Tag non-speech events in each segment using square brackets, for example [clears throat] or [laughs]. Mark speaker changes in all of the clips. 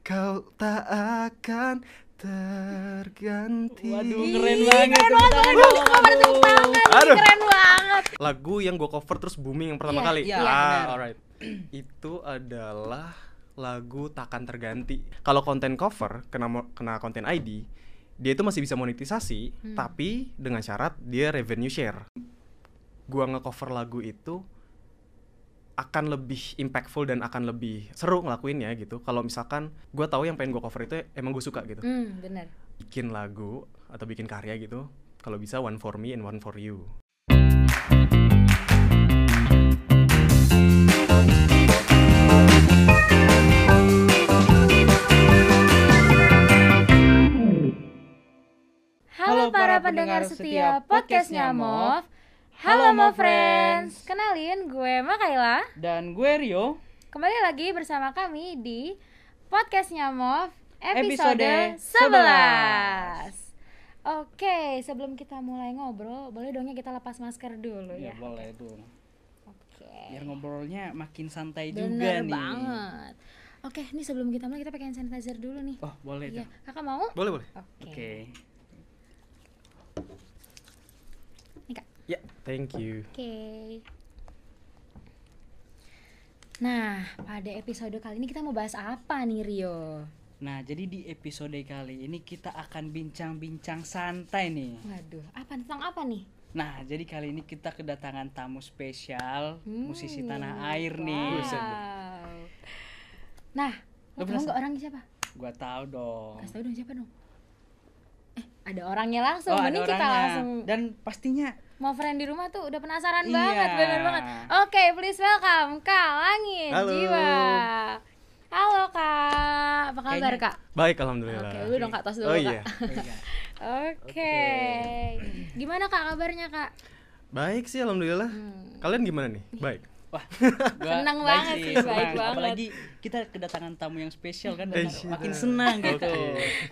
Speaker 1: Kau tak akan terganti
Speaker 2: Waduh, keren banget.
Speaker 3: keren
Speaker 2: tepuk
Speaker 3: banget
Speaker 2: tangan dong,
Speaker 3: keren banget Semua pada
Speaker 2: aduh.
Speaker 3: tepuk tangan nih,
Speaker 1: Aduh.
Speaker 3: keren banget
Speaker 1: Lagu yang gue cover terus booming yang pertama
Speaker 3: Iya,
Speaker 1: kali
Speaker 2: iya,
Speaker 1: Ah,
Speaker 2: benar.
Speaker 1: alright [clears throat] Itu adalah lagu Takkan Terganti Kalau konten cover, kena, mo- kena konten ID Dia itu masih bisa monetisasi
Speaker 3: Hmm.
Speaker 1: Tapi dengan syarat dia revenue share Gua ngecover lagu itu akan lebih impactful dan akan lebih seru ngelakuinnya gitu kalau misalkan gua tahu yang pengen gue cover itu emang gue suka gitu
Speaker 3: Hmm bener
Speaker 1: bikin lagu atau bikin karya gitu kalau bisa one for me and one for you
Speaker 3: Halo para pendengar setia podcastnya Mov Halo Mov Friends Kenalin gue Makaila
Speaker 2: Dan gue Rio
Speaker 3: Kembali lagi bersama kami di podcastnya Mov
Speaker 2: Episode
Speaker 3: episode 11 Oke, sebelum kita mulai ngobrol, boleh dongnya kita lepas masker dulu
Speaker 2: Ya
Speaker 3: ya?
Speaker 2: boleh dong
Speaker 3: Oke.
Speaker 2: Biar ngobrolnya makin
Speaker 3: Iya
Speaker 2: santai juga
Speaker 3: Bener
Speaker 2: nih
Speaker 3: banget. Oke, ini sebelum kita mulai kita pakai hand sanitizer dulu nih.
Speaker 2: Oh boleh
Speaker 3: Iya,
Speaker 2: tuh
Speaker 3: kakak mau? Oke.
Speaker 1: boleh boleh
Speaker 2: Oke
Speaker 3: Nih, Kak.
Speaker 1: ya thank you
Speaker 3: Oke. Nah, pada episode kali ini kita mau bahas apa nih Rio?
Speaker 2: Nah jadi di episode kali ini kita akan bincang-bincang santai nih
Speaker 3: Waduh, apa tentang apa nih?
Speaker 2: Nah jadi kali ini kita kedatangan tamu spesial
Speaker 3: Hmm,
Speaker 2: Musisi tanah air nih
Speaker 3: Wow. Nah,
Speaker 2: Lu
Speaker 3: lo tau
Speaker 2: penasaran? Oh.
Speaker 3: nggak orangnya siapa?
Speaker 2: Gua tahu dong
Speaker 3: Kasih tau dong siapa dong? Eh, ada orangnya
Speaker 2: Oh,
Speaker 3: langsung.
Speaker 2: ada
Speaker 3: ini kita
Speaker 2: orangnya.
Speaker 3: langsung.
Speaker 2: Dan
Speaker 3: [laughs]
Speaker 2: pastinya
Speaker 3: Mau friend di rumah tuh udah penasaran
Speaker 2: Iya.
Speaker 3: banget, bener banget. Oke, please welcome Kak Langit
Speaker 1: Halo.
Speaker 3: Jiwa. Halo Kak, apa kabar
Speaker 2: Kayaknya-
Speaker 3: Kak?
Speaker 1: baik alhamdulillah
Speaker 3: Oke, lu dong Kak, tos
Speaker 1: oh
Speaker 3: dulu Kak.
Speaker 1: iya
Speaker 2: Iya.
Speaker 3: Oke. Gimana Kak kabarnya Kak?
Speaker 1: baik sih alhamdulillah kalian gimana nih
Speaker 3: Iya.
Speaker 1: baik
Speaker 3: [laughs]
Speaker 2: Wah,
Speaker 3: Senang
Speaker 2: baik
Speaker 3: banget sih, baik
Speaker 2: senang.
Speaker 3: banget.
Speaker 2: Apalagi kita kedatangan tamu yang spesial kan,
Speaker 1: Eh,
Speaker 2: dan
Speaker 1: sih.
Speaker 2: makin senang gitu.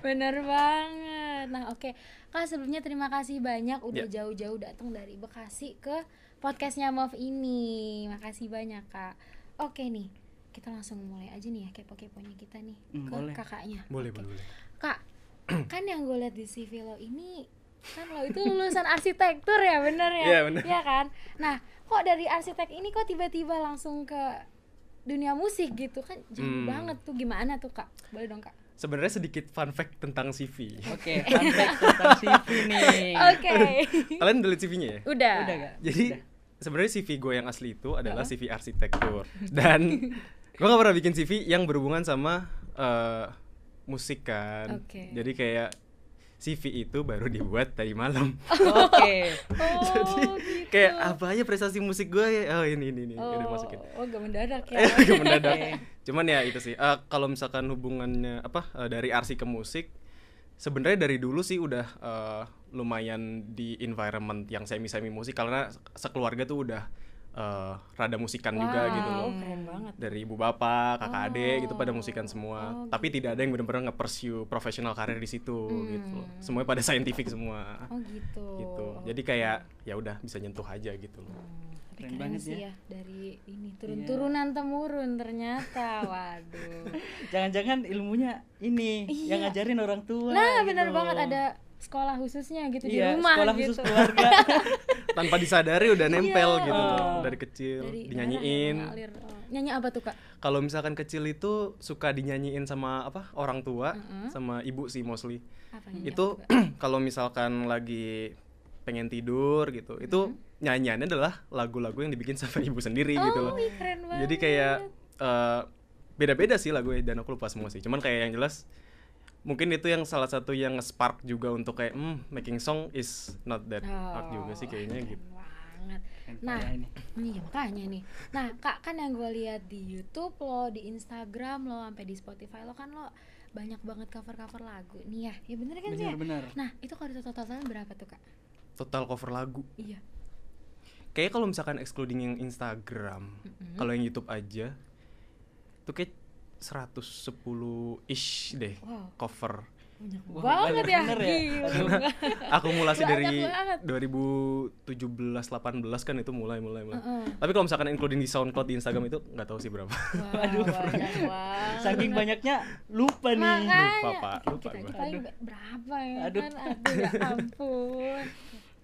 Speaker 3: Bener banget. Nah, oke. Kak, sebelumnya terima kasih banyak
Speaker 1: Ya.
Speaker 3: udah jauh-jauh datang dari Bekasi ke podcastnya Move ini. Makasih banyak, Kak. Oke nih, kita langsung mulai aja nih ya kepo-keponya kita nih
Speaker 2: Hmm,
Speaker 3: ke
Speaker 2: boleh.
Speaker 3: kakaknya.
Speaker 1: boleh
Speaker 3: Oke.
Speaker 1: boleh boleh
Speaker 3: Kak, kan yang gue lihat di CV lo ini kan lo itu lulusan arsitektur ya, bener ya?
Speaker 1: Iya, bener.
Speaker 3: Iya kan? Nah, kok dari arsitek ini kok tiba-tiba langsung ke dunia musik gitu kan jauh
Speaker 1: Hmm.
Speaker 3: banget tuh gimana tuh kak boleh dong kak
Speaker 1: sebenarnya sedikit fun fact tentang CV
Speaker 2: Oke, fun fact tentang CV nih.
Speaker 3: oke
Speaker 1: [laughs] kalian udah lihat CV-nya ya
Speaker 3: [laughs] udah
Speaker 2: Udah gak?
Speaker 1: jadi sebenarnya CV gue yang asli itu adalah CV arsitektur
Speaker 3: [laughs]
Speaker 1: dan gue gak pernah bikin CV yang berhubungan sama eh, musik kan
Speaker 3: Oke.
Speaker 1: jadi kayak CV itu baru dibuat tadi malam
Speaker 2: Oke.
Speaker 3: oh
Speaker 1: [laughs] jadi
Speaker 3: gitu.
Speaker 1: kayak apa aja prestasi musik gue ya oh ini ini ini
Speaker 3: oh,
Speaker 1: udah masukin
Speaker 3: oh gak mendadak ya
Speaker 1: Eh, [laughs] agak mendadak
Speaker 2: Oke.
Speaker 1: cuman ya itu sih Eh, kalau misalkan hubungannya apa eh, dari arsi ke musik sebenarnya dari dulu sih udah eh, lumayan di environment yang semi semi musik karena se- sekeluarga tuh udah eh, rada musikan juga gitu loh
Speaker 3: Wow, keren banget
Speaker 1: dari ibu bapak kakak
Speaker 3: Oh.
Speaker 1: adik gitu pada musikan semua
Speaker 3: Oh,
Speaker 1: tapi tidak ada yang benar-benar nge-pursue profesional karir di situ gitu loh semuanya pada [laughs] scientific semua
Speaker 3: Hmm. oh gitu
Speaker 1: gitu jadi kayak ya udah bisa nyentuh aja gitu loh
Speaker 3: Tapi
Speaker 2: Keren
Speaker 3: keren
Speaker 2: banget
Speaker 3: sih
Speaker 2: ya. Iya.
Speaker 3: ya. dari ini turun-turunan temurun ternyata waduh
Speaker 2: Jangan-jangan ilmunya ini
Speaker 3: Iya.
Speaker 2: yang ngajarin orang tua.
Speaker 3: nah
Speaker 2: gitu.
Speaker 3: benar banget ada sekolah khususnya
Speaker 2: Iya,
Speaker 3: gitu di rumah
Speaker 2: sekolah
Speaker 3: gitu
Speaker 2: khusus
Speaker 3: [laughs]
Speaker 2: keluarga.
Speaker 1: tanpa disadari udah nempel
Speaker 3: Iya.
Speaker 1: gitu loh
Speaker 2: Oh.
Speaker 1: dari kecil
Speaker 3: Dari
Speaker 1: dinyanyiin
Speaker 3: darah yang mengalir. Oh, nyanyi apa tuh kak
Speaker 1: kalau misalkan kecil itu suka dinyanyiin sama apa orang tua sama ibu sih mostly
Speaker 3: apa nyanyi
Speaker 1: itu
Speaker 3: apa tuh, Kak?
Speaker 1: [clears throat] kalau misalkan lagi pengen tidur gitu itu nyanyiannya adalah lagu-lagu yang dibikin sama [laughs] ibu sendiri gitu loh
Speaker 3: oh ih, keren banget
Speaker 1: jadi kayak eh, beda-beda sih lagunya dan aku lupa semua sih cuman kayak yang jelas mungkin itu yang salah satu yang nge-spark juga untuk kayak hmm making song is not that
Speaker 3: Oh,
Speaker 1: hard juga sih kayaknya
Speaker 3: keren
Speaker 1: gitu
Speaker 3: banget
Speaker 2: Nah,
Speaker 3: nah Iya makanya nih. Nah kak kan yang gue lihat di YouTube lo, di Instagram lo, sampai di Spotify lo kan lo banyak banget cover-cover lagu nih ya. Ya bener kan sih? ya?
Speaker 2: benar-benar.
Speaker 3: Nah itu kalau total totalnya berapa tuh kak?
Speaker 1: total cover lagu
Speaker 3: Iya.
Speaker 1: Kayaknya kalau misalkan excluding yang Instagram,
Speaker 3: Mm-hmm.
Speaker 1: kalau yang YouTube aja, itu kayak 110 ish deh
Speaker 3: Wow.
Speaker 1: cover.
Speaker 3: Banyak
Speaker 2: Wah,
Speaker 3: banget
Speaker 2: banyak
Speaker 3: ya.
Speaker 2: bener ya.
Speaker 3: Gila.
Speaker 1: akumulasi
Speaker 3: Banyak
Speaker 1: dari
Speaker 3: banget.
Speaker 1: 2017 18 kan itu mulai mulai mulai.
Speaker 3: Heeh.
Speaker 1: Tapi kalau misalkan including di SoundCloud di Instagram itu nggak tahu sih berapa.
Speaker 3: Wah,
Speaker 2: Waduh.
Speaker 3: banyak banget.
Speaker 2: gitu. Saking banyaknya lupa nih.
Speaker 3: Makanya.
Speaker 1: Lupa, Pak. Lupa
Speaker 3: kita,
Speaker 1: gua.
Speaker 3: kita paling
Speaker 2: Aduh.
Speaker 3: be- berapa ya
Speaker 2: Aduh.
Speaker 3: kan? Aduh, ya ampun.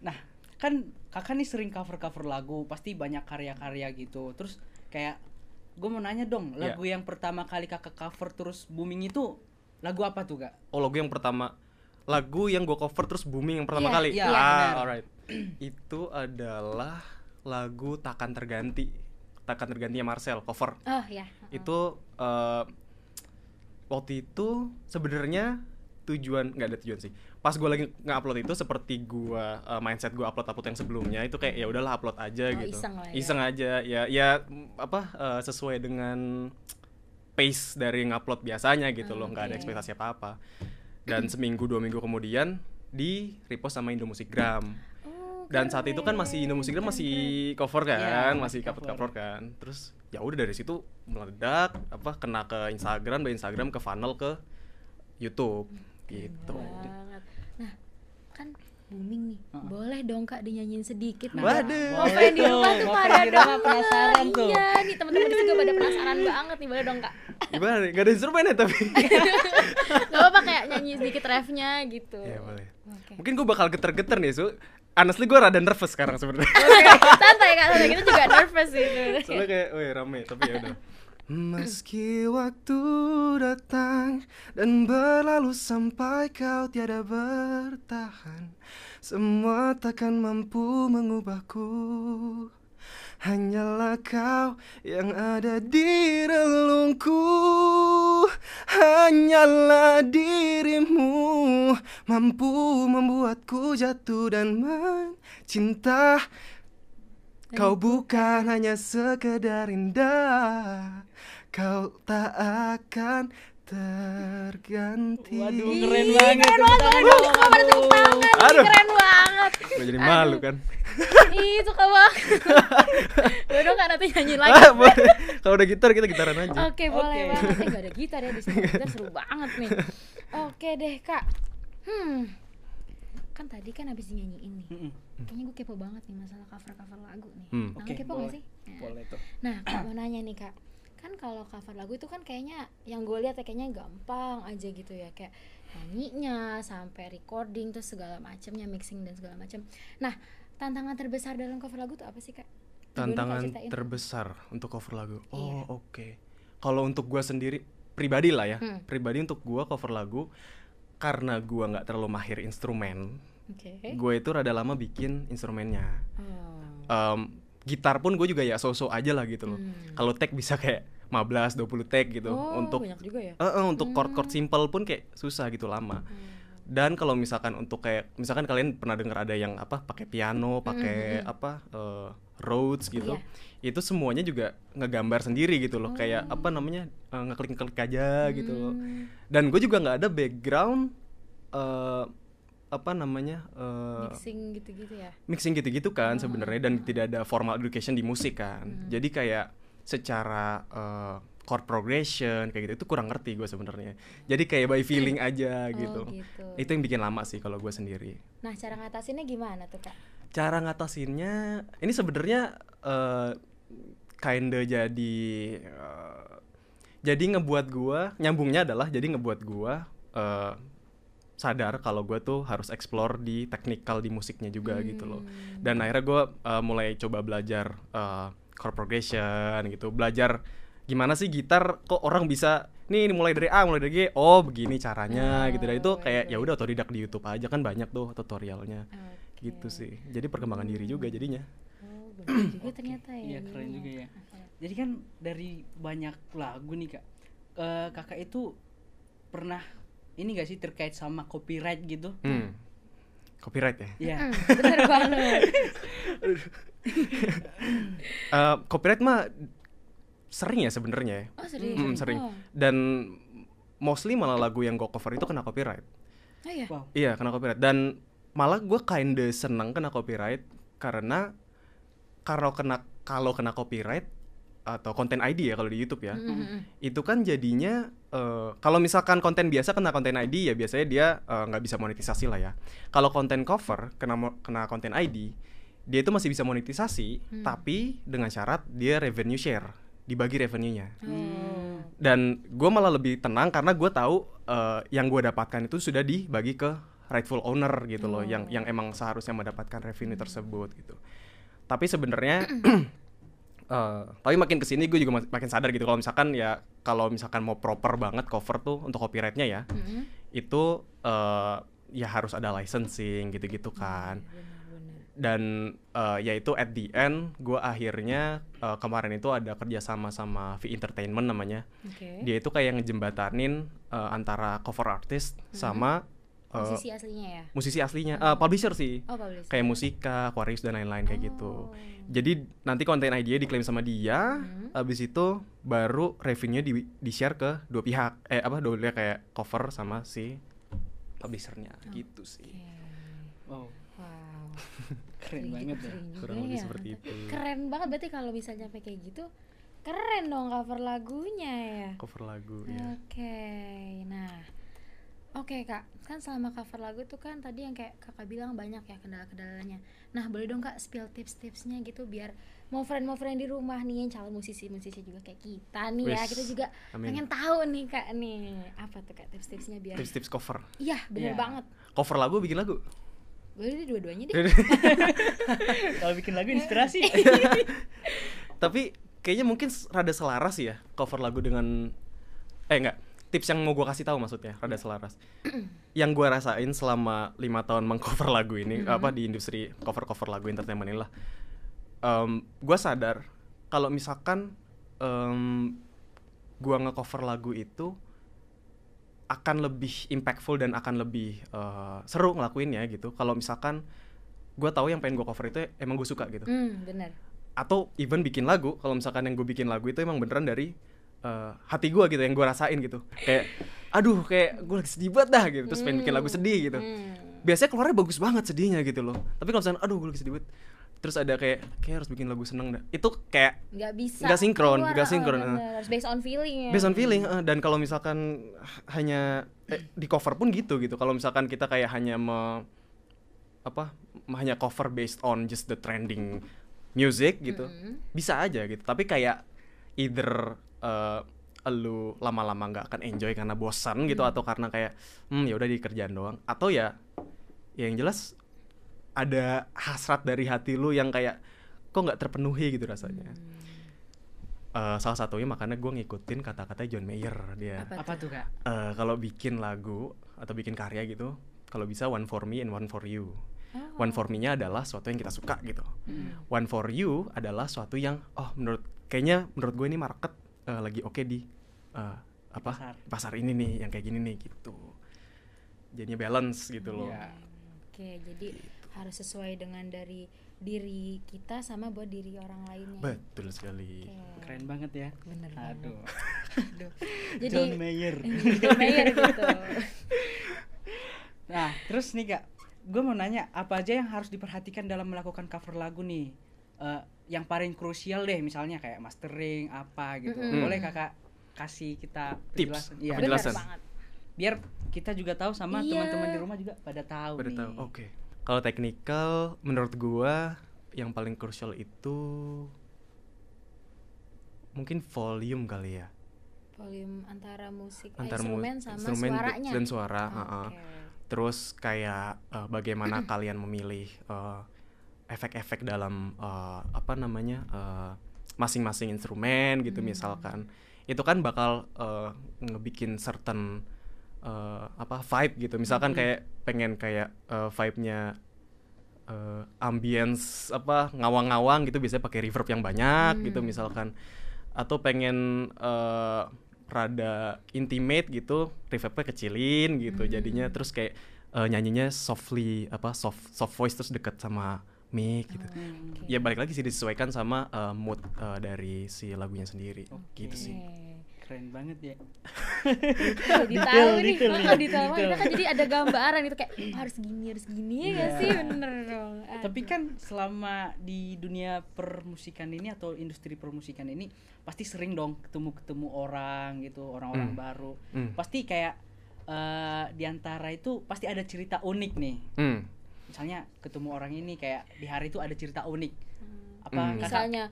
Speaker 2: Nah, kan kakak nih sering cover-cover lagu, pasti banyak karya-karya gitu. Terus kayak gue mau nanya dong,
Speaker 1: Iya.
Speaker 2: lagu yang pertama kali kakak cover terus booming itu lagu apa tuh kak?
Speaker 1: Oh lagu yang pertama lagu yang gue cover terus booming yang pertama
Speaker 3: Iya,
Speaker 1: kali.
Speaker 2: iya,
Speaker 1: ah,
Speaker 2: benar.
Speaker 1: alright. itu adalah lagu Takkan Terganti. Takkan Tergantinya Marcel cover.
Speaker 3: Oh ya.
Speaker 1: Itu eh, waktu itu sebenarnya tujuan nggak ada tujuan sih. Pas gue lagi nge-upload itu seperti gue mindset gue upload-upload yang sebelumnya itu kayak ya udahlah upload aja
Speaker 3: Oh,
Speaker 1: gitu.
Speaker 3: iseng lah ya.
Speaker 1: aja ya ya mm, apa eh, sesuai dengan pace dari ngupload biasanya gitu loh, nggak ada
Speaker 3: Hmm, Oke.
Speaker 1: ekspektasi apa-apa. Dan seminggu dua minggu kemudian di repost sama Indomusikgram.
Speaker 3: Oh,
Speaker 1: Dan saat itu kan masih
Speaker 3: keren,
Speaker 1: Indomusikgram
Speaker 3: keren,
Speaker 1: masih cover kan,
Speaker 2: Iya, masih
Speaker 1: masih cover cover kan. Terus ya udah dari situ meledak apa kena ke Instagram, dari Instagram ke funnel ke YouTube gitu.
Speaker 3: keren banget. Nah, kan booming nih. Boleh dong Kak dinyanyiin sedikit.
Speaker 2: Nah,
Speaker 3: Nah,
Speaker 1: Waduh.
Speaker 3: Ngapain di
Speaker 2: boleh
Speaker 3: rumah tuh
Speaker 2: ngapain
Speaker 3: pada
Speaker 2: di rumah
Speaker 3: denger.
Speaker 2: penasaran tuh.
Speaker 3: Iya, nih teman-teman di sini juga pada penasaran banget nih. Boleh dong Kak.
Speaker 1: Gimana? nih? Gak ada instrumennya tapi.
Speaker 3: Gak apa-apa kayak nyanyi sedikit refnya gitu.
Speaker 1: [laughs] Iya, boleh.
Speaker 3: Oke.
Speaker 1: Mungkin gue bakal geter-geter nih, Su. Honestly gue rada nervous sekarang sebenarnya.
Speaker 3: Oke, santai Kak, santai. Kita juga nervous sih. sebenarnya.
Speaker 1: Soalnya kayak, weh rame, tapi ya udah. Iya. [laughs] Meski waktu datang dan berlalu sampai kau tiada bertahan Semua takkan mampu mengubahku Hanyalah kau yang ada di relungku Hanyalah dirimu Mampu membuatku jatuh dan mencinta Kau bukan hanya sekedar indah Kau tak akan terganti
Speaker 2: Waduh,
Speaker 3: Ih,
Speaker 2: keren banget.
Speaker 3: Keren
Speaker 2: tepuk
Speaker 3: banget.
Speaker 2: tangan
Speaker 3: Aduh,
Speaker 2: dong.
Speaker 3: suka pada tepuk tangan. nih,
Speaker 1: Aduh.
Speaker 3: Keren banget.
Speaker 1: Gue jadi malu
Speaker 3: [laughs]
Speaker 1: kan
Speaker 3: Ih, suka banget. Boleh dong Kak nanti nyanyiin lagi.
Speaker 1: Ah, boleh. Kalau udah gitar kita gitaran aja
Speaker 3: Oke, boleh
Speaker 2: Oke.
Speaker 3: banget. Eh, gak ada gitar ya di sini. Gitar seru banget nih. Oke deh, Kak. Hmm. Kan tadi kan habis dinyanyiin nih.
Speaker 2: Mm-mm.
Speaker 3: Kayaknya gue kepo banget nih masalah cover-cover lagu nih.
Speaker 1: Hmm.
Speaker 3: Nah,
Speaker 2: Hmm.
Speaker 3: lo
Speaker 2: Oke,
Speaker 3: kepo
Speaker 2: boleh.
Speaker 3: gak sih? Nah.
Speaker 2: Boleh tuh.
Speaker 3: Nah, Kak mau nanya nih, Kak. Kan kalau cover lagu itu kan kayaknya yang gue lihat ya kayaknya gampang aja gitu ya, kayak nyanyinya sampai recording terus segala macamnya, mixing dan segala macam. Nah, tantangan terbesar dalam cover lagu tuh apa sih, Kak? Boleh Kak
Speaker 1: Tantangan
Speaker 3: ceritain?
Speaker 1: terbesar untuk cover lagu
Speaker 3: Iya.
Speaker 1: Oh oke Kalau untuk gua sendiri Pribadi lah ya
Speaker 3: Hmm.
Speaker 1: Pribadi untuk gua cover lagu Karena gua nggak terlalu mahir instrumen
Speaker 3: Oke.
Speaker 1: Gue itu rada lama bikin instrumennya
Speaker 3: Oh.
Speaker 1: Em, Gitar pun gue juga ya so-so aja lah gitu loh
Speaker 3: Hmm.
Speaker 1: Kalau tag bisa kayak 15, 20 tag gitu
Speaker 3: Oh,
Speaker 1: Untuk
Speaker 3: banyak juga ya. Hmm.
Speaker 1: Eh, eh, untuk chord-chord simple pun kayak susah gitu lama. Dan kalau misalkan untuk kayak misalkan kalian pernah dengar ada yang apa pakai piano,
Speaker 3: Hmm,
Speaker 1: pakai apa eh, Rhodes gitu.
Speaker 3: Iya.
Speaker 1: Itu semuanya juga ngegambar sendiri gitu loh, kayak apa namanya? eh, ngeklik-klik aja gitu loh.
Speaker 3: Oh. Hmm.
Speaker 1: Dan gue juga nggak ada background eh, apa namanya? eh,
Speaker 3: mixing gitu-gitu ya.
Speaker 1: mixing gitu-gitu kan sebenarnya dan tidak ada formal education di musik kan.
Speaker 3: Hmm.
Speaker 1: Jadi kayak secara eh, chord progression kayak gitu itu kurang ngerti gue sebenarnya. Jadi kayak by feeling aja
Speaker 3: Oh,
Speaker 1: gitu.
Speaker 3: gitu.
Speaker 1: Itu yang bikin lama sih kalau gue sendiri.
Speaker 3: Nah, cara ngatasinnya gimana tuh, Kak?
Speaker 1: Cara ngatasinnya ini sebenarnya eh, kinda jadi eh, jadi ngebuat gua nyambungnya adalah jadi ngebuat gua eh, sadar kalau gua tuh harus explore di technical di musiknya juga gitu loh dan akhirnya gua eh, mulai coba belajar eh, chord progression gitu belajar gimana sih gitar kok orang bisa nih ini mulai dari A mulai dari G oh begini caranya gitu dan itu kayak ya udah otodidak di YouTube aja kan banyak tuh tutorialnya
Speaker 3: Oke.
Speaker 1: gitu sih jadi perkembangan diri juga jadinya
Speaker 3: Oh, bener juga ternyata ya.
Speaker 2: Iya, keren
Speaker 3: ininya.
Speaker 2: juga ya.
Speaker 3: Oke.
Speaker 2: Jadi kan dari banyak lagu nih kak, Eh, kakak itu pernah ini gak sih terkait sama copyright gitu?
Speaker 1: hmm. copyright ya
Speaker 2: Iya.
Speaker 3: Hmm, Bener banget.
Speaker 1: Eh, copyright mah sering ya sebenarnya ya.
Speaker 3: Oh, serius.
Speaker 1: Mm, sering
Speaker 3: Oh.
Speaker 1: dan mostly malah lagu yang gue cover itu kena copyright
Speaker 3: Oh iya.
Speaker 2: Wow.
Speaker 1: iya kena copyright dan malah gue kinda seneng kena copyright karena kalau kena kalau kena copyright atau konten ID ya kalau di YouTube ya.
Speaker 3: Mm, mm, mm.
Speaker 1: Itu kan jadinya eh, kalau misalkan konten biasa kena konten ID ya biasanya dia eh, nggak bisa monetisasi lah ya. Kalau konten cover kena mo- kena konten ID, dia itu masih bisa monetisasi
Speaker 3: Hmm.
Speaker 1: tapi dengan syarat dia revenue share, dibagi revenue-nya.
Speaker 3: Oh.
Speaker 1: Dan gue malah lebih tenang karena gue tahu eh, yang gue dapatkan itu sudah dibagi ke rightful owner gitu loh, yang yang emang seharusnya mendapatkan revenue tersebut gitu. Tapi sebenarnya [clears throat] eh, tapi makin kesini gue juga mak- makin sadar gitu kalau misalkan ya kalau misalkan mau proper banget cover tuh untuk copyrightnya ya
Speaker 3: Oh, Mm-mm.
Speaker 1: itu eh, ya harus ada licensing gitu-gitu kan
Speaker 3: Benar-benar.
Speaker 1: dan eh, yaitu at the end gue akhirnya eh, kemarin itu ada kerjasama sama V Entertainment namanya
Speaker 3: Oke.
Speaker 1: dia itu kayak ngejembatanin eh, antara cover artist
Speaker 3: Hmm.
Speaker 1: sama eh,
Speaker 3: Posisi aslinya ya.
Speaker 1: musisi aslinya Eh, publisher sih
Speaker 3: Oh, publisher.
Speaker 1: kayak musika Aquarius dan lain-lain kayak gitu
Speaker 3: Oh.
Speaker 1: jadi nanti konten ID-nya diklaim sama dia
Speaker 3: Mhm.
Speaker 1: habis itu baru revenue di di share ke dua pihak eh apa dua pihak kayak cover sama si publishernya gitu sih
Speaker 3: Oke.
Speaker 2: Wow,
Speaker 3: Wow.
Speaker 2: keren
Speaker 3: Iya,
Speaker 2: banget ya.
Speaker 3: Keren juga
Speaker 1: kurang lebih
Speaker 3: ya.
Speaker 1: seperti itu
Speaker 3: Keren banget berarti kalau misalnya sampai kayak gitu, keren dong cover lagunya ya.
Speaker 1: cover lagu
Speaker 3: Oke,
Speaker 1: ya
Speaker 3: nah, oke kak, kan selama cover lagu itu kan tadi yang kayak kakak bilang banyak ya kendala-kendalanya. Nah boleh dong kak spill tips-tipsnya gitu biar mau friend mau friend di rumah nih yang calon musisi-musisi juga kayak kita nih ya,
Speaker 1: Wis,
Speaker 3: kita juga
Speaker 1: amin.
Speaker 3: pengen tahu nih kak nih apa tuh kak tips-tipsnya biar.
Speaker 1: tips-tips cover
Speaker 3: Iya bener
Speaker 2: Iya.
Speaker 3: banget,
Speaker 1: cover lagu bikin lagu
Speaker 3: boleh deh dua-duanya
Speaker 1: Iya.
Speaker 3: deh.
Speaker 2: Kalau bikin lagu
Speaker 3: [laughs]
Speaker 2: inspirasi.
Speaker 3: Iya,
Speaker 1: tapi kayaknya mungkin s- rada selaras ya cover lagu dengan eh enggak tips yang mau gue kasih tahu maksudnya rada selaras yang gue rasain selama lima tahun mengcover lagu ini apa di industri cover cover lagu entertainment inilah gue sadar kalau misalkan em, gua ngecover lagu itu akan lebih impactful dan akan lebih eh, seru ngelakuinnya gitu kalau misalkan gue tahu yang pengen gue cover itu emang gue suka gitu
Speaker 3: Hmm bener.
Speaker 1: atau even bikin lagu kalau misalkan yang gue bikin lagu itu emang beneran dari eh, hati gue gitu yang gue rasain gitu kayak aduh kayak gue lagi sedih banget dah gitu terus pengen bikin lagu sedih gitu
Speaker 3: Hmm.
Speaker 1: biasanya keluarnya bagus banget sedihnya gitu loh tapi kalau misalkan aduh gue lagi sedih banget terus ada kayak kayak harus bikin lagu seneng dah itu kayak
Speaker 3: Nggak bisa.
Speaker 1: Nggak sinkron,
Speaker 3: keluar,
Speaker 1: nggak
Speaker 3: ah,
Speaker 1: sinkron, ah.
Speaker 3: bener. Harus based on feeling ya.
Speaker 1: based on feeling eh, dan kalau misalkan h- hanya eh, di cover pun gitu gitu kalau misalkan kita kayak hanya me- apa m- hanya cover based on just the trending music gitu
Speaker 3: Mm-mm.
Speaker 1: bisa aja gitu tapi kayak either eh, lu lama-lama nggak akan enjoy karena bosan gitu atau karena kayak hmm ya udah di kerjaan doang atau ya ya yang jelas ada hasrat dari hati lu yang kayak kok nggak terpenuhi gitu rasanya
Speaker 3: Hmm.
Speaker 1: Eh, salah satunya makanya gue ngikutin kata-kata John Mayer dia
Speaker 3: Apa
Speaker 2: Apa tuh kak?
Speaker 1: Eh, kalau bikin lagu atau bikin karya gitu kalau bisa one for me and one for you
Speaker 3: Oh.
Speaker 1: one
Speaker 3: Hmm.
Speaker 1: for me-nya adalah suatu yang kita suka gitu one for you adalah suatu yang oh menurut kayaknya menurut gue ini market eh, lagi oke di eh, apa
Speaker 2: Pasar.
Speaker 1: pasar. ini nih yang kayak gini nih gitu jadinya balance gitu loh
Speaker 2: Iya.
Speaker 3: Oke, jadi
Speaker 1: Gitu.
Speaker 3: harus sesuai dengan dari diri kita sama buat diri orang lainnya.
Speaker 1: betul sekali
Speaker 3: Oke,
Speaker 2: Keren banget ya.
Speaker 3: Bener banget.
Speaker 2: Aduh.
Speaker 3: Aduh. Jadi
Speaker 2: John Mayer.
Speaker 3: [laughs] John Mayer gitu.
Speaker 1: Iya,
Speaker 2: Nah, terus nih kak, gue mau nanya apa aja yang harus diperhatikan dalam melakukan cover lagu nih? Eh, yang paling krusial deh, misalnya kayak mastering apa gitu.
Speaker 3: Mm-mm.
Speaker 2: Boleh kakak kasih kita
Speaker 1: Tips,
Speaker 2: penjelasan? Iya.
Speaker 3: Bener
Speaker 1: Penjelasan.
Speaker 3: banget.
Speaker 2: Biar kita juga tahu sama
Speaker 3: Iya.
Speaker 2: teman-teman di rumah juga pada tahu
Speaker 1: Pada
Speaker 2: nih.
Speaker 1: tahu. Oke. Kalau technical menurut gua yang paling krusial itu mungkin volume kali ya.
Speaker 3: Volume antara musik eh,
Speaker 1: Antara mu-
Speaker 3: instrumen sama
Speaker 1: instrumen d-
Speaker 3: suaranya.
Speaker 1: dan suara, Ah,
Speaker 3: Oke.
Speaker 1: ha-ha. Terus kayak eh, bagaimana kalian memilih eh, efek-efek dalam eh, apa namanya? eh, masing-masing instrumen gitu
Speaker 3: Hmm.
Speaker 1: misalkan. Itu kan bakal eh, ngebikin certain eh, apa vibe gitu. Misalkan kayak pengen kayak eh, vibe-nya eh, ambience apa ngawang-ngawang gitu biasanya pakai reverb yang banyak gitu
Speaker 3: Hmm.
Speaker 1: misalkan atau pengen eh, rada intimate gitu reverbnya kecilin
Speaker 3: Hmm.
Speaker 1: gitu jadinya terus kayak eh, nyanyinya softly apa soft soft voice terus deket sama mic gitu
Speaker 2: Hmm.
Speaker 3: Oke.
Speaker 1: ya balik lagi sih disesuaikan sama eh, mood eh, dari si lagunya sendiri
Speaker 2: Oke.
Speaker 1: gitu sih
Speaker 3: Oke.
Speaker 2: keren banget ya
Speaker 3: Kalau detail
Speaker 2: Detail,
Speaker 3: nih,
Speaker 2: detail nih,
Speaker 3: kalau detail banget,
Speaker 2: detail.
Speaker 3: kan jadi ada gambaran itu kayak "Oh, harus gini harus gini ya nggak
Speaker 2: Iya.
Speaker 3: sih bener dong.
Speaker 2: tapi kan selama di dunia permusikan ini atau industri permusikan ini pasti sering dong ketemu ketemu orang gitu orang-orang
Speaker 1: Hmm.
Speaker 2: baru
Speaker 1: Hmm.
Speaker 2: pasti kayak eh, di diantara itu pasti ada cerita unik nih
Speaker 1: Hmm.
Speaker 2: misalnya ketemu orang ini kayak di hari itu ada cerita unik apa
Speaker 3: Hmm.
Speaker 1: Hmm.
Speaker 2: kakak-
Speaker 3: misalnya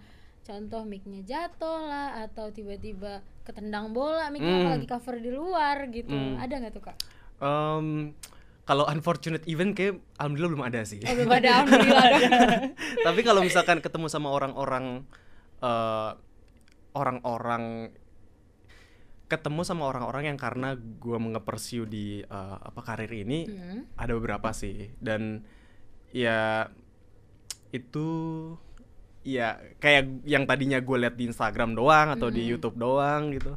Speaker 3: contoh mic-nya jatuh lah atau tiba-tiba ketendang bola mic-nya
Speaker 1: Hmm.
Speaker 3: kalau lagi cover di luar gitu
Speaker 1: Hmm.
Speaker 3: ada nggak
Speaker 1: [laughs]
Speaker 3: tuh kak?
Speaker 1: Em, kalau unfortunate event kayak alhamdulillah belum ada sih.
Speaker 3: Oh, belum ada alhamdulillah dong.
Speaker 1: Tapi kalau misalkan ketemu sama orang-orang eh, orang-orang ketemu sama orang-orang yang karena gua mengepersiu di eh, apa karir ini
Speaker 3: Hmm.
Speaker 1: ada beberapa sih dan ya itu ya kayak yang tadinya gue lihat di Instagram doang atau di
Speaker 3: Mm-mm.
Speaker 1: YouTube doang gitu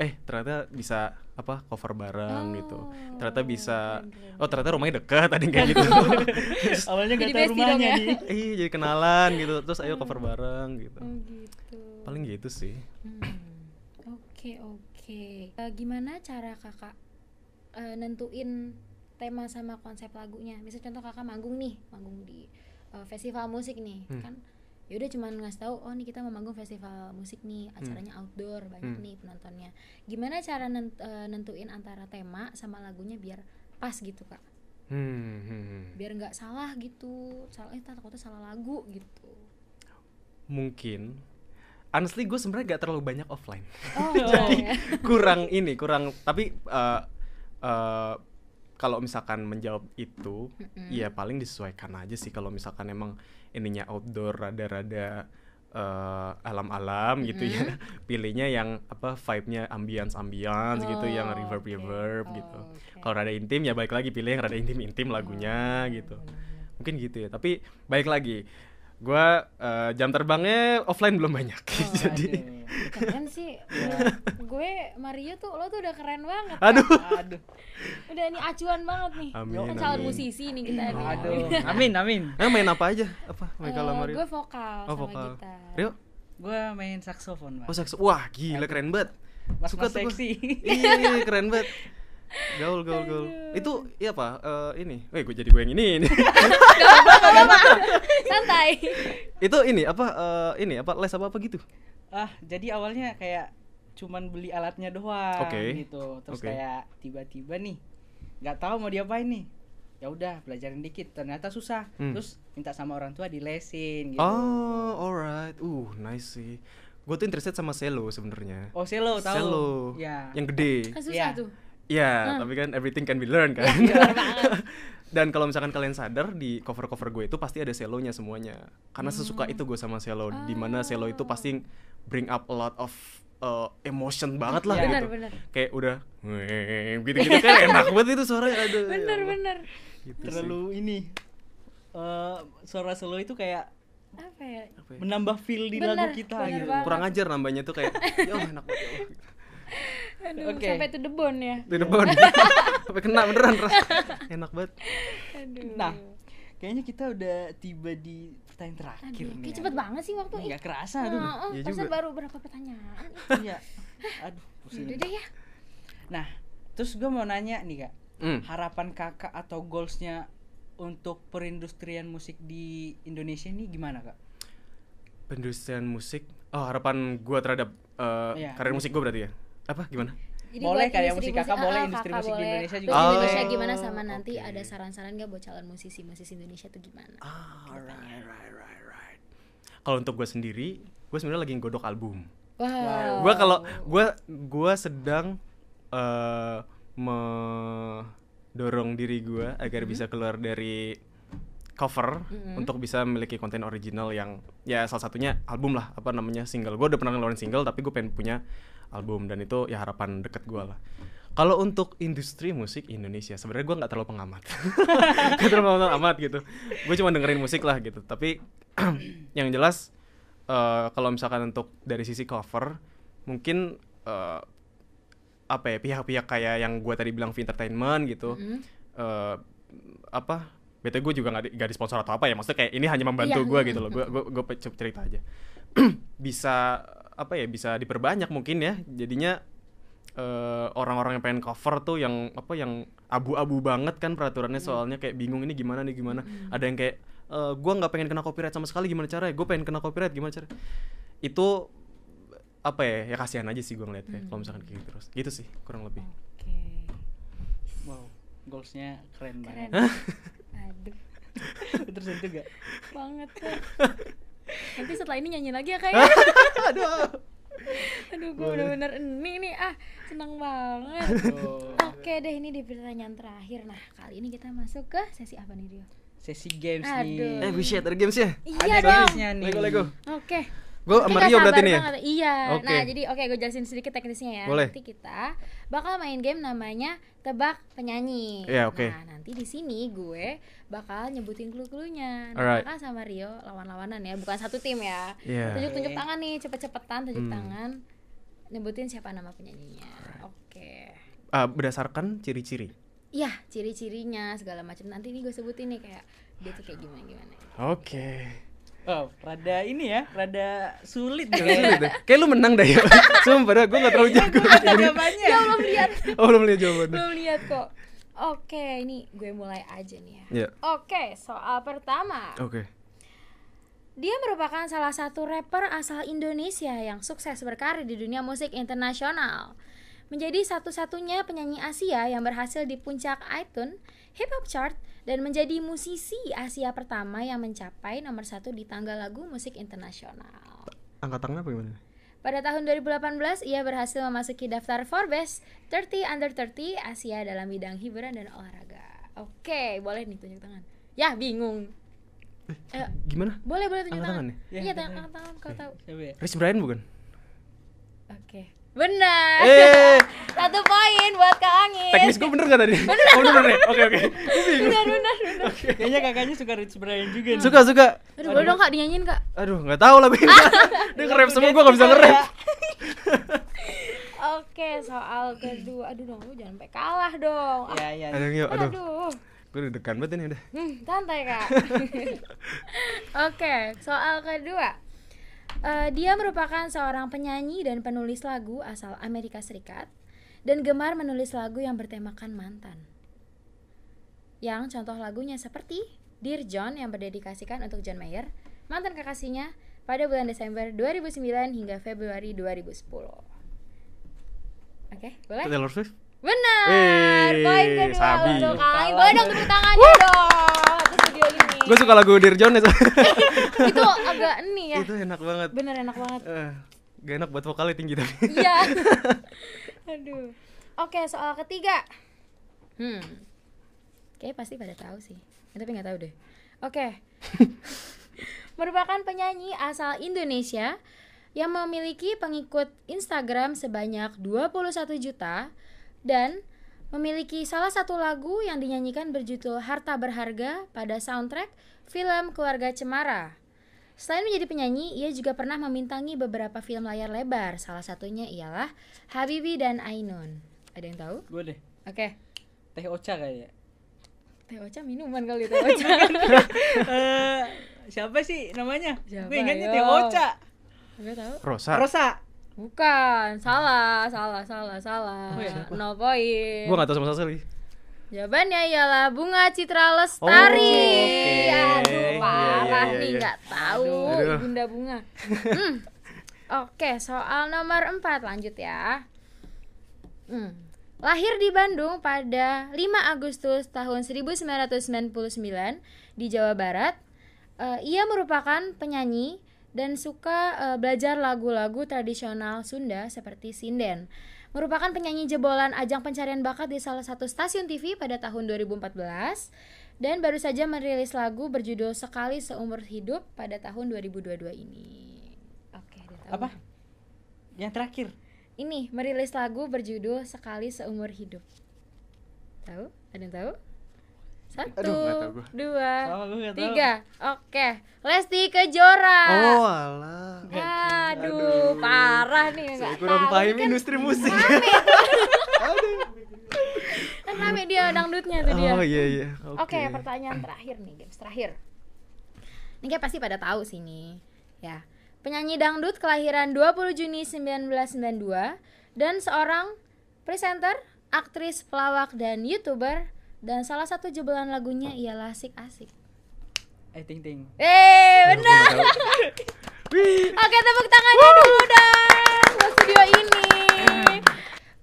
Speaker 1: eh ternyata bisa apa cover bareng gitu ternyata
Speaker 3: Oh,
Speaker 1: bisa
Speaker 3: keren,
Speaker 1: oh ternyata rumahnya dekat tadi kayak gitu
Speaker 2: awalnya nggak tahu
Speaker 3: Jadi bestie dong
Speaker 2: rumahnya
Speaker 3: ya? [laughs]
Speaker 2: di
Speaker 1: Ih, jadi kenalan gitu terus ayo cover bareng gitu
Speaker 3: Oh gitu.
Speaker 1: paling gitu sih
Speaker 3: Hmm. Oke oke. Eh, gimana cara kakak eh, nentuin tema sama konsep lagunya? Misal contoh kakak manggung nih, manggung di eh, festival musik nih,
Speaker 1: Hmm.
Speaker 3: kan? Yaudah cuman ngasih tahu, oh nih kita mau manggung festival musik nih, acaranya outdoor banyak
Speaker 1: Hmm.
Speaker 3: nih penontonnya. Gimana cara nen- eh, nentuin antara tema sama lagunya biar pas gitu kak?
Speaker 1: Hmm, hmm, hmm.
Speaker 3: Biar nggak salah gitu, salah eh ntar takutnya salah lagu gitu.
Speaker 1: mungkin honestly gue sebenarnya gak terlalu banyak offline [laughs]
Speaker 3: Oh,
Speaker 1: jadi
Speaker 3: ya.
Speaker 1: kurang ini kurang tapi eh, eh, kalau misalkan menjawab itu
Speaker 3: Mm-mm.
Speaker 1: ya paling disesuaikan aja sih kalau misalkan emang ininya outdoor rada-rada eh, alam-alam gitu ya
Speaker 3: Hmm.
Speaker 1: [laughs] pilihnya yang apa vibe-nya ambience ambience gitu yang
Speaker 3: Oh,
Speaker 1: reverb
Speaker 3: oke.
Speaker 1: reverb
Speaker 3: Oh,
Speaker 1: gitu
Speaker 3: oke. Oh, iya,
Speaker 1: kalau rada intim ya balik lagi pilih yang rada intim intim lagunya gitu mungkin gitu ya tapi balik lagi gua eh, jam terbangnya offline belum banyak
Speaker 3: Oh,
Speaker 1: [laughs] jadi
Speaker 2: Oh,
Speaker 3: iya,
Speaker 2: Aduh.
Speaker 3: keren sih gue Mario tuh lo tuh udah keren banget Kak.
Speaker 1: aduh
Speaker 2: aduh
Speaker 3: udah nih acuan banget nih
Speaker 1: Amin,
Speaker 3: kan calon
Speaker 1: amin.
Speaker 3: musisi nih kita nih
Speaker 2: aduh amin amin
Speaker 1: [laughs] Eh, main apa aja apa main
Speaker 3: iya. Eh,
Speaker 1: kalau Mario
Speaker 3: gue vokal
Speaker 1: oh
Speaker 3: sama
Speaker 1: vokal
Speaker 3: gitar
Speaker 1: Rio
Speaker 2: gue main saksofon
Speaker 1: oh
Speaker 2: mas
Speaker 1: saxo wah gila keren banget
Speaker 2: mas
Speaker 1: suka
Speaker 2: mas
Speaker 1: tuh gua.
Speaker 2: seksi
Speaker 1: [laughs]
Speaker 2: [laughs]
Speaker 1: Iya, keren banget. Gaul, gaul, gaul. Itu iya apa? Eh, ini. Eh, gue jadi gue yang ini.
Speaker 3: [laughs]
Speaker 1: ini. [laughs]
Speaker 3: santai
Speaker 1: itu ini apa? eh, ini apa? Les apa apa gitu?
Speaker 2: ah jadi awalnya kayak cuman beli alatnya doang
Speaker 1: Oke.
Speaker 2: gitu terus
Speaker 1: Oke.
Speaker 2: kayak tiba-tiba nih nggak tahu mau diapain nih ya udah belajarin dikit ternyata susah
Speaker 1: Hmm.
Speaker 2: terus minta sama orang tua
Speaker 3: Iya.
Speaker 2: dilesin gitu
Speaker 1: Oh, alright. Uh, nice sih. Gue tuh interested sama selo sebenarnya.
Speaker 2: oh selo tahu
Speaker 1: Selo.
Speaker 2: ya
Speaker 1: Yang gede.
Speaker 3: kan susah
Speaker 2: Iya.
Speaker 3: tuh
Speaker 1: Iya, tapi kan everything can be learned kan.
Speaker 2: Ya,
Speaker 3: bener banget
Speaker 1: [laughs] Dan kalau misalkan kalian sadar di cover-cover gue itu pasti ada selonya semuanya. Karena sesuka itu gue sama selo. Dimana selo itu pasti bring up a lot of uh, emotion banget lah
Speaker 2: Iya.
Speaker 1: gitu.
Speaker 3: bener bener
Speaker 1: kayak udah gitu gitu kan enak banget itu suaranya aduh ya
Speaker 3: bener
Speaker 1: Allah.
Speaker 3: bener
Speaker 1: Gitu sih.
Speaker 2: terlalu ini eh suara selo itu kayak
Speaker 3: apa ya
Speaker 1: Apa ya?
Speaker 2: menambah feel di
Speaker 3: Bener,
Speaker 2: lagu kita
Speaker 3: bener
Speaker 2: gitu
Speaker 3: banget.
Speaker 1: kurang ajar nambahnya tuh kayak ya Allah, enak banget ya Allah."
Speaker 2: [laughs]
Speaker 3: aduh
Speaker 2: Oke.
Speaker 3: sampai to the bone ya
Speaker 1: Tuh, depan [laughs] sampai kena beneran ras enak banget
Speaker 3: aduh
Speaker 2: nah kayaknya kita udah tiba di pertanyaan terakhir
Speaker 3: aduh
Speaker 2: nih
Speaker 3: kayak
Speaker 2: ya.
Speaker 3: cepet banget sih waktu itu
Speaker 2: nggak kerasa Nah, aduh
Speaker 3: Heeh,
Speaker 1: Iya
Speaker 3: perasaan
Speaker 1: juga.
Speaker 3: baru berapa pertanyaan
Speaker 2: Iya. aduh pusing
Speaker 3: udah deh ya
Speaker 2: Nah, terus gue mau nanya nih kak,
Speaker 1: Hmm.
Speaker 2: harapan kakak atau goalsnya untuk perindustrian musik di Indonesia ini gimana kak?
Speaker 1: pendustrian musik oh harapan gua terhadap uh,
Speaker 2: Iya.
Speaker 1: karir musik gua berarti ya apa gimana
Speaker 2: Boleh
Speaker 3: buat
Speaker 2: kayak
Speaker 3: industri
Speaker 2: musik kakak,
Speaker 3: ah,
Speaker 2: boleh
Speaker 3: ah,
Speaker 2: industri
Speaker 3: kakak
Speaker 2: musik di
Speaker 3: boleh.
Speaker 2: Indonesia juga
Speaker 3: Terus
Speaker 1: boleh.
Speaker 3: Indonesia
Speaker 1: Oh,
Speaker 3: gimana sama nanti
Speaker 1: oke.
Speaker 3: ada saran-saran gak buat calon musisi musisi Indonesia tuh gimana?
Speaker 1: ah right right right right kalau untuk gua sendiri gua sebenarnya lagi nggodok album
Speaker 3: Wow.
Speaker 1: gua kalau gua gua sedang eh mendorong diri gua agar bisa keluar dari cover untuk bisa memiliki konten original yang ya salah satunya album lah apa namanya single gua udah pernah ngeluarin single tapi gue pengen punya album dan itu ya harapan deket gua lah kalau untuk industri musik Indonesia sebenarnya gua nggak terlalu pengamat [laughs] nggak terlalu pengamat amat gitu gue cuma dengerin musik lah gitu tapi [clears throat] yang jelas eh, kalau misalkan untuk dari sisi cover mungkin eh, apa ya pihak-pihak kayak yang gue tadi bilang V Entertainment gitu
Speaker 3: Mhm.
Speaker 1: eh, apa bete gue juga nggak di, nggak di sponsor atau apa ya maksudnya kayak ini hanya membantu
Speaker 3: Iya.
Speaker 1: gue gitu loh gue gue cerita aja bisa apa ya bisa diperbanyak mungkin ya jadinya eh, orang-orang yang pengen cover tuh yang apa yang abu-abu banget kan peraturannya soalnya kayak bingung ini gimana nih gimana ada yang kayak eh, gua nggak pengen kena copyright sama sekali gimana caranya gue pengen kena copyright gimana cara itu apa ya ya kasihan aja sih gue ngeliatnya kalau misalkan kayak gitu terus gitu sih kurang lebih
Speaker 3: Oke.
Speaker 2: Wow, goalsnya keren,
Speaker 3: Keren.
Speaker 1: Hmm.
Speaker 2: banget. [laughs]
Speaker 3: Aduh,
Speaker 2: Tersentuh gak?
Speaker 3: banget Kak. Nanti setelah ini nyanyi lagi ya Kak ya.
Speaker 1: [laughs] aduh
Speaker 3: Aduh, gue bener-bener ini nih ah, seneng banget.
Speaker 2: [laughs] Tuh.
Speaker 3: Oke deh, ini di pertanyaan terakhir. Nah, kali ini kita masuk ke sesi apa nih, Rio?
Speaker 2: Sesi games
Speaker 3: Aduh.
Speaker 2: nih.
Speaker 1: eh bullshit ada games ya
Speaker 3: Iya
Speaker 2: Ada
Speaker 3: dong.
Speaker 2: games-nya nih.
Speaker 1: lego lego
Speaker 3: Oke.
Speaker 1: gue
Speaker 3: Kita
Speaker 1: sama Rio
Speaker 3: sabar
Speaker 1: berarti nih ya
Speaker 3: banget. Iya.
Speaker 1: Oke.
Speaker 3: Nah, jadi oke gue jelasin sedikit teknisnya ya.
Speaker 1: Boleh.
Speaker 3: Nanti kita bakal main game namanya tebak penyanyi.
Speaker 1: Iya, oke.
Speaker 3: Nah, nanti di sini gue bakal nyebutin clue-cluenya. Nah,
Speaker 1: Alright.
Speaker 3: Kakak sama Rio lawan-lawanan ya, bukan satu tim ya.
Speaker 1: Iya.
Speaker 3: Tunjuk-tunjuk
Speaker 2: Oke.
Speaker 3: tangan nih, cepet-cepetan tunjuk
Speaker 1: Hmm.
Speaker 3: tangan. Nyebutin siapa nama penyanyinya. Oke.
Speaker 1: Ah, berdasarkan ciri-ciri
Speaker 3: Iya, ciri-cirinya segala macam. Nanti ini gue sebutin nih kayak dia tuh kayak gimana gimana.
Speaker 1: oke
Speaker 2: Oh, rada ini ya, rada sulit ya.
Speaker 1: Kayak sulit
Speaker 2: gue.
Speaker 1: deh. Kayak lu menang deh ya. [laughs] Sumpah dah, gue gak terlalu jago.
Speaker 2: Ada jawabannya.
Speaker 3: Ya belum lihat,
Speaker 1: Oh, belum lihat jawabannya.
Speaker 3: belum lihat kok. Oke, ini gue mulai aja nih ya.
Speaker 1: Ya.
Speaker 3: Oke, soal pertama.
Speaker 1: Oke.
Speaker 3: Dia merupakan salah satu rapper asal Indonesia yang sukses berkarir di dunia musik internasional. Menjadi satu-satunya penyanyi Asia yang berhasil di puncak iTunes Hip Hop Chart dan menjadi musisi Asia pertama yang mencapai nomor satu di tangga lagu musik internasional.
Speaker 1: Angkat tangan apa gimana?
Speaker 3: Pada tahun 2018, ia berhasil memasuki daftar Forbes 30 Under 30 Asia dalam bidang hiburan dan olahraga. Oke, boleh nih tunjuk tangan. Ya, bingung. Eh,
Speaker 1: Gimana?
Speaker 3: boleh, boleh tunjuk
Speaker 1: Angkat
Speaker 3: tangan.
Speaker 1: tangan
Speaker 2: ya?
Speaker 3: Iya,
Speaker 2: Ya,
Speaker 3: tangan,
Speaker 2: tangan.
Speaker 3: angkat tangan kalau tahu.
Speaker 2: Siapa ya?
Speaker 1: Chris Brian bukan?
Speaker 3: Oke. Benar.
Speaker 1: Eh,
Speaker 3: [laughs] Satu poin buat Kak
Speaker 1: teknis
Speaker 3: Angin.
Speaker 1: gue bener gak tadi? Oh, bener ya? Oke, oke.
Speaker 3: Benar, benar, [laughs] benar.
Speaker 2: Kayaknya kakaknya suka Rich Brian juga nih.
Speaker 1: Suka, suka.
Speaker 3: Aduh, boleh dong Kak dinyanyiin, Kak.
Speaker 1: Aduh, gak tau lah. [laughs] Bin. Dia nge-rap semua, gue gak bisa nge-rap.
Speaker 3: Oke, soal kedua. Aduh dong, lu jangan sampai kalah dong.
Speaker 2: Ya, ya.
Speaker 1: Aduh, yuk, aduh.
Speaker 3: Iya. Aduh.
Speaker 1: Gue udah dekan banget ini udah.
Speaker 3: Hmm, santai kak. [laughs] Oke, soal kedua. Eh, dia merupakan seorang penyanyi dan penulis lagu asal Amerika Serikat dan gemar menulis lagu yang bertemakan mantan. Yang contoh lagunya seperti Dear John yang berdedikasikan untuk John Mayer, mantan kekasihnya pada bulan Desember 2009 hingga Februari 2010. Oke, boleh?
Speaker 1: Taylor Swift?
Speaker 3: Benar.
Speaker 1: Wih,
Speaker 3: Poin kedua
Speaker 1: sabi.
Speaker 3: untuk Kang.
Speaker 2: Tangan.
Speaker 3: Boleh dong tepuk tangannya dong. Di studio
Speaker 1: [laughs]
Speaker 3: ini.
Speaker 1: Gue suka lagu Dear John ya. [laughs]
Speaker 3: Itu agak ini ya.
Speaker 1: Itu enak banget.
Speaker 3: Bener enak
Speaker 1: [laughs]
Speaker 3: banget.
Speaker 1: Eh, gak enak buat vokalnya tinggi tapi.
Speaker 3: Iya. [laughs] Aduh. Oke, soal ketiga. Hmm. Kayaknya pasti pada tahu sih. Eh, Tapi nggak tahu deh. [laughs] Oke. Merupakan penyanyi asal Indonesia yang memiliki pengikut Instagram sebanyak 21 juta dan memiliki salah satu lagu yang dinyanyikan berjudul Harta Berharga pada soundtrack film Keluarga Cemara. Selain menjadi penyanyi, ia juga pernah membintangi beberapa film layar lebar. Salah satunya ialah Habibi dan Ainun. Ada yang tahu?
Speaker 2: Gue deh.
Speaker 3: Oke.
Speaker 2: Teh Ocha
Speaker 1: [laughs]
Speaker 2: kayaknya.
Speaker 3: Teh Ocha minuman kali Teh Ocha.
Speaker 2: Eh, siapa sih namanya?
Speaker 3: Siapa, ya?
Speaker 2: Gue ingatnya
Speaker 3: ayo?
Speaker 2: Teh Ocha.
Speaker 3: Enggak tahu?
Speaker 1: Rosa.
Speaker 2: Rosa.
Speaker 3: Bukan. Salah, salah, salah, salah.
Speaker 2: Oh, iya.
Speaker 3: Nol poin.
Speaker 1: Gue gak tau sama sekali.
Speaker 3: Jawabannya ialah Bunga Citra Lestari.
Speaker 1: Oh, oke.
Speaker 3: Aduh,
Speaker 1: Iya,
Speaker 3: parah
Speaker 1: iya, iya,
Speaker 3: nih
Speaker 1: iya.
Speaker 3: nggak tahu
Speaker 1: Aduh.
Speaker 3: Bunda Bunga. Hmm. Oke, soal nomor 4 lanjut ya. Hmm. Lahir di Bandung pada 5 Agustus tahun 1999 di Jawa Barat. Eh, ia merupakan penyanyi dan suka eh, belajar lagu-lagu tradisional Sunda seperti sinden. Merupakan penyanyi jebolan ajang pencarian bakat di salah satu stasiun TV pada tahun 2014 dan baru saja merilis lagu berjudul Sekali Seumur Hidup pada tahun 2022 ini. Oke, dia tahu.
Speaker 2: Apa? Yang terakhir.
Speaker 3: Ini merilis lagu berjudul Sekali Seumur Hidup. Tahu? Ada yang tahu? Satu,
Speaker 1: Aduh, nggak tahu gua.
Speaker 3: dua,
Speaker 2: Sama gue Oh, nggak tahu.
Speaker 3: tiga. Oke, Lesti Kejora.
Speaker 1: Oh, alah.
Speaker 3: Aduh, parah nih Kan
Speaker 1: Saya
Speaker 3: enggak
Speaker 1: kurang paham industri musik. [laughs]
Speaker 3: Kan rame dia dangdutnya tuh dia.
Speaker 1: Oh iya iya.
Speaker 3: Oke, pertanyaan terakhir nih, games terakhir. Ini kayak pasti pada tahu sih nih. Ya. penyanyi dangdut kelahiran 20 Juni 1992 dan seorang presenter, aktris, pelawak dan YouTuber dan salah satu jebolan lagunya ialah Sik Asik.
Speaker 2: Eh ting ting.
Speaker 3: Eh,
Speaker 1: Aduh, [laughs] gua
Speaker 3: benar.
Speaker 1: nggak tahu. Wih.
Speaker 3: Oke tepuk tangannya dulu dong buat studio [laughs] ini.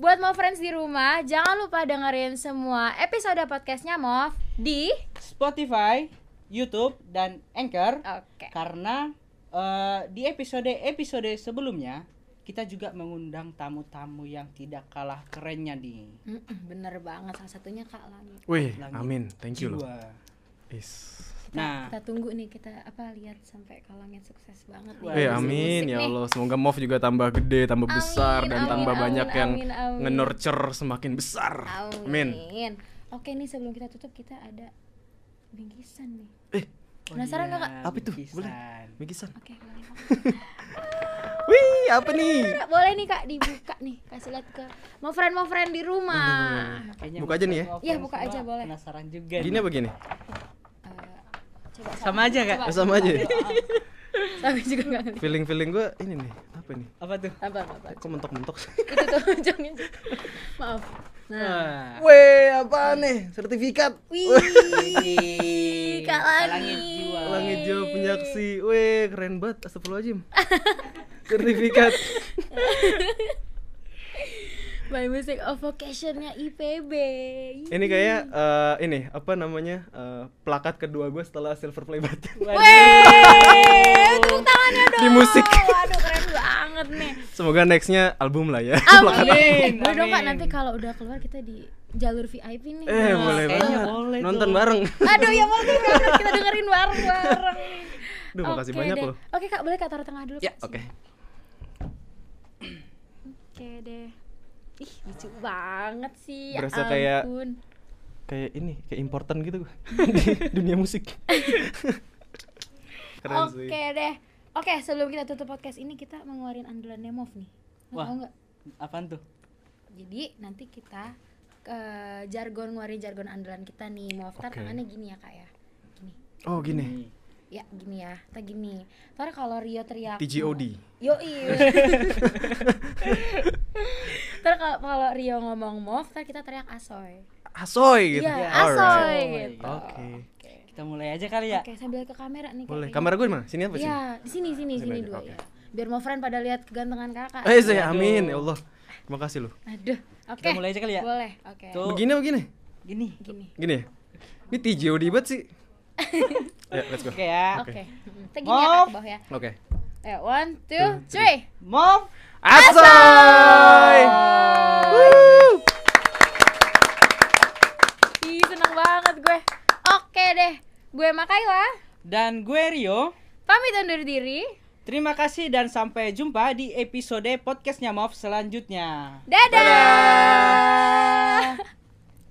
Speaker 3: Buat mau friends di rumah, jangan lupa dengerin semua episode podcastnya Mov di.
Speaker 2: Spotify, YouTube dan Anchor
Speaker 3: Oke.
Speaker 2: karena eh, di episode-episode sebelumnya kita juga mengundang tamu-tamu yang tidak kalah kerennya di
Speaker 3: Mm-mm, Bener banget salah satunya Kak Langit.
Speaker 1: Wih,
Speaker 2: Langit.
Speaker 1: amin. Thank you loh.
Speaker 2: jiwa.
Speaker 1: Is.
Speaker 3: Kita,
Speaker 2: Nah,
Speaker 3: kita tunggu nih kita apa lihat sampai Kak Langit sukses banget nih.
Speaker 2: Wah,
Speaker 1: Eh
Speaker 3: musik-musik
Speaker 1: amin ya
Speaker 3: nih.
Speaker 1: Allah, semoga MOV juga tambah gede, tambah
Speaker 3: Amin,
Speaker 1: besar dan
Speaker 3: amin,
Speaker 1: tambah
Speaker 3: amin,
Speaker 1: banyak yang
Speaker 3: amin, amin.
Speaker 1: nge-nurture semakin besar.
Speaker 3: Amin.
Speaker 1: Amin.
Speaker 3: Oke nih sebelum kita tutup kita ada bingkisan nih.
Speaker 1: Eh,
Speaker 3: Penasaran nggak, Kak?
Speaker 1: Apa itu?
Speaker 2: Oh iya, bingkisan.
Speaker 1: Boleh. Mikisan.
Speaker 3: Oke boleh.
Speaker 1: Wih, apa nih?
Speaker 3: Kak. boleh nih Kak dibuka nih kasih lihat ke mau friend mau friend di rumah.
Speaker 2: Kayaknya
Speaker 1: Buka aja nih ya.
Speaker 2: semua
Speaker 3: Iya,
Speaker 2: fans
Speaker 3: buka
Speaker 2: semua
Speaker 3: aja, boleh.
Speaker 2: Penasaran juga.
Speaker 1: Gini
Speaker 2: nih.
Speaker 1: apa gini?
Speaker 3: Eh, coba
Speaker 2: Sama aja, Kak?
Speaker 3: Coba,
Speaker 1: Ya, Sama
Speaker 3: coba,
Speaker 1: aja.
Speaker 3: coba. Tapi juga nggak ngerti.
Speaker 1: Feeling-feeling gue ini nih, apa nih?
Speaker 2: Apa tuh?
Speaker 3: Apa apa, apa.
Speaker 1: Kok mentok-mentok sih?
Speaker 3: Itu tuh [laughs] jangan. Maaf. Nah.
Speaker 2: Wah.
Speaker 1: Weh, apa nih? Sertifikat.
Speaker 3: Wih, Kak
Speaker 2: Langit
Speaker 3: Lani.
Speaker 2: jiwa.
Speaker 1: Langit jauh penyaksi. Weh, keren banget. Astagfirullahaladzim. [laughs] Sertifikat.
Speaker 3: By Music of Vocation-nya IPB.
Speaker 1: Ini kayak eh, ini apa namanya? eh, plakat kedua gue setelah Silver Play Button. [laughs]
Speaker 3: Wih, tepuk tangannya dong.
Speaker 1: Di musik.
Speaker 3: Waduh, keren banget nih.
Speaker 1: Semoga nextnya album lah ya.
Speaker 2: Amin,
Speaker 3: Boleh dong Kak
Speaker 2: amin.
Speaker 3: nanti kalau udah keluar kita di jalur VIP nih.
Speaker 1: [laughs]
Speaker 3: Nah.
Speaker 1: Eh, boleh
Speaker 2: kayaknya
Speaker 1: banget.
Speaker 2: boleh
Speaker 1: Nonton
Speaker 2: tuh.
Speaker 1: bareng.
Speaker 3: Aduh ya boleh banget kita dengerin bareng-bareng.
Speaker 1: Duh, makasih
Speaker 3: Oke
Speaker 1: banyak
Speaker 3: deh.
Speaker 1: loh.
Speaker 3: Oke Kak, boleh Kak taruh tengah dulu?
Speaker 2: Ya,
Speaker 3: Kak,
Speaker 1: Oke.
Speaker 3: sini. Oke deh. Ih, lucu banget sih. ya
Speaker 1: Berasa kayak-
Speaker 3: ampun.
Speaker 1: Kayak ini, kayak important gitu
Speaker 3: [laughs]
Speaker 1: gua di dunia musik. [laughs] Keren
Speaker 3: Oke
Speaker 1: sih.
Speaker 3: deh. Oke, sebelum kita tutup podcast ini kita mau ngeluarin andalan Nemov nih. Lo
Speaker 2: Wah.
Speaker 3: tau nggak?
Speaker 2: Apaan tuh?
Speaker 3: Jadi nanti kita ke jargon ngeluarin jargon andalan kita nih. Maaf, tar
Speaker 1: Oke.
Speaker 3: tangannya gini ya kak ya. Gini.
Speaker 1: Oh, gini.
Speaker 3: Ya gini ya. Kita gini. Ntar kalau Rio teriak.
Speaker 1: TGOD.
Speaker 3: Yo
Speaker 1: [laughs]
Speaker 3: iya. Ntar kalau- kalau Rio ngomong move, ntar kita teriak asoy.
Speaker 1: Asoy gitu.
Speaker 3: Iya,
Speaker 1: Alright.
Speaker 3: asoy
Speaker 2: Asoy.
Speaker 3: gitu.
Speaker 1: Oke.
Speaker 3: Oke.
Speaker 2: Kita mulai aja kali ya.
Speaker 3: Oke, sambil ke kamera nih.
Speaker 1: Boleh.
Speaker 3: kayaknya.
Speaker 1: Kamera gue di mana? Sini apa sih?
Speaker 3: Iya, di sini sini
Speaker 1: Sini
Speaker 3: sini
Speaker 1: aja,
Speaker 3: dua
Speaker 1: oke.
Speaker 3: ya. Biar mau friend pada lihat kegantengan kakak.
Speaker 1: Eh, saya
Speaker 2: Aduh.
Speaker 1: amin ya Allah. Terima kasih loh.
Speaker 3: Aduh. Oke.
Speaker 2: Kita mulai aja kali ya.
Speaker 3: Boleh. Oke.
Speaker 2: Tuh.
Speaker 1: Begini apa gini?
Speaker 2: Gini.
Speaker 3: Gini.
Speaker 1: Gini ya? Ini TGOD banget sih. [laughs] ya, let's go.
Speaker 2: Oke ya.
Speaker 3: Oke. Hmm. Kita gini ya
Speaker 2: Move.
Speaker 3: kak ke bawah ya.
Speaker 1: Oke.
Speaker 3: Eh, one, two,
Speaker 1: Two,
Speaker 3: three.
Speaker 2: Mom.
Speaker 1: Asoy. Woo.
Speaker 3: Ih, seneng banget gue. Oke deh, gue Makaila.
Speaker 2: Dan gue Rio.
Speaker 3: Pamit undur diri.
Speaker 2: Terima kasih dan sampai jumpa di episode podcastnya Mof selanjutnya.
Speaker 3: Dadah.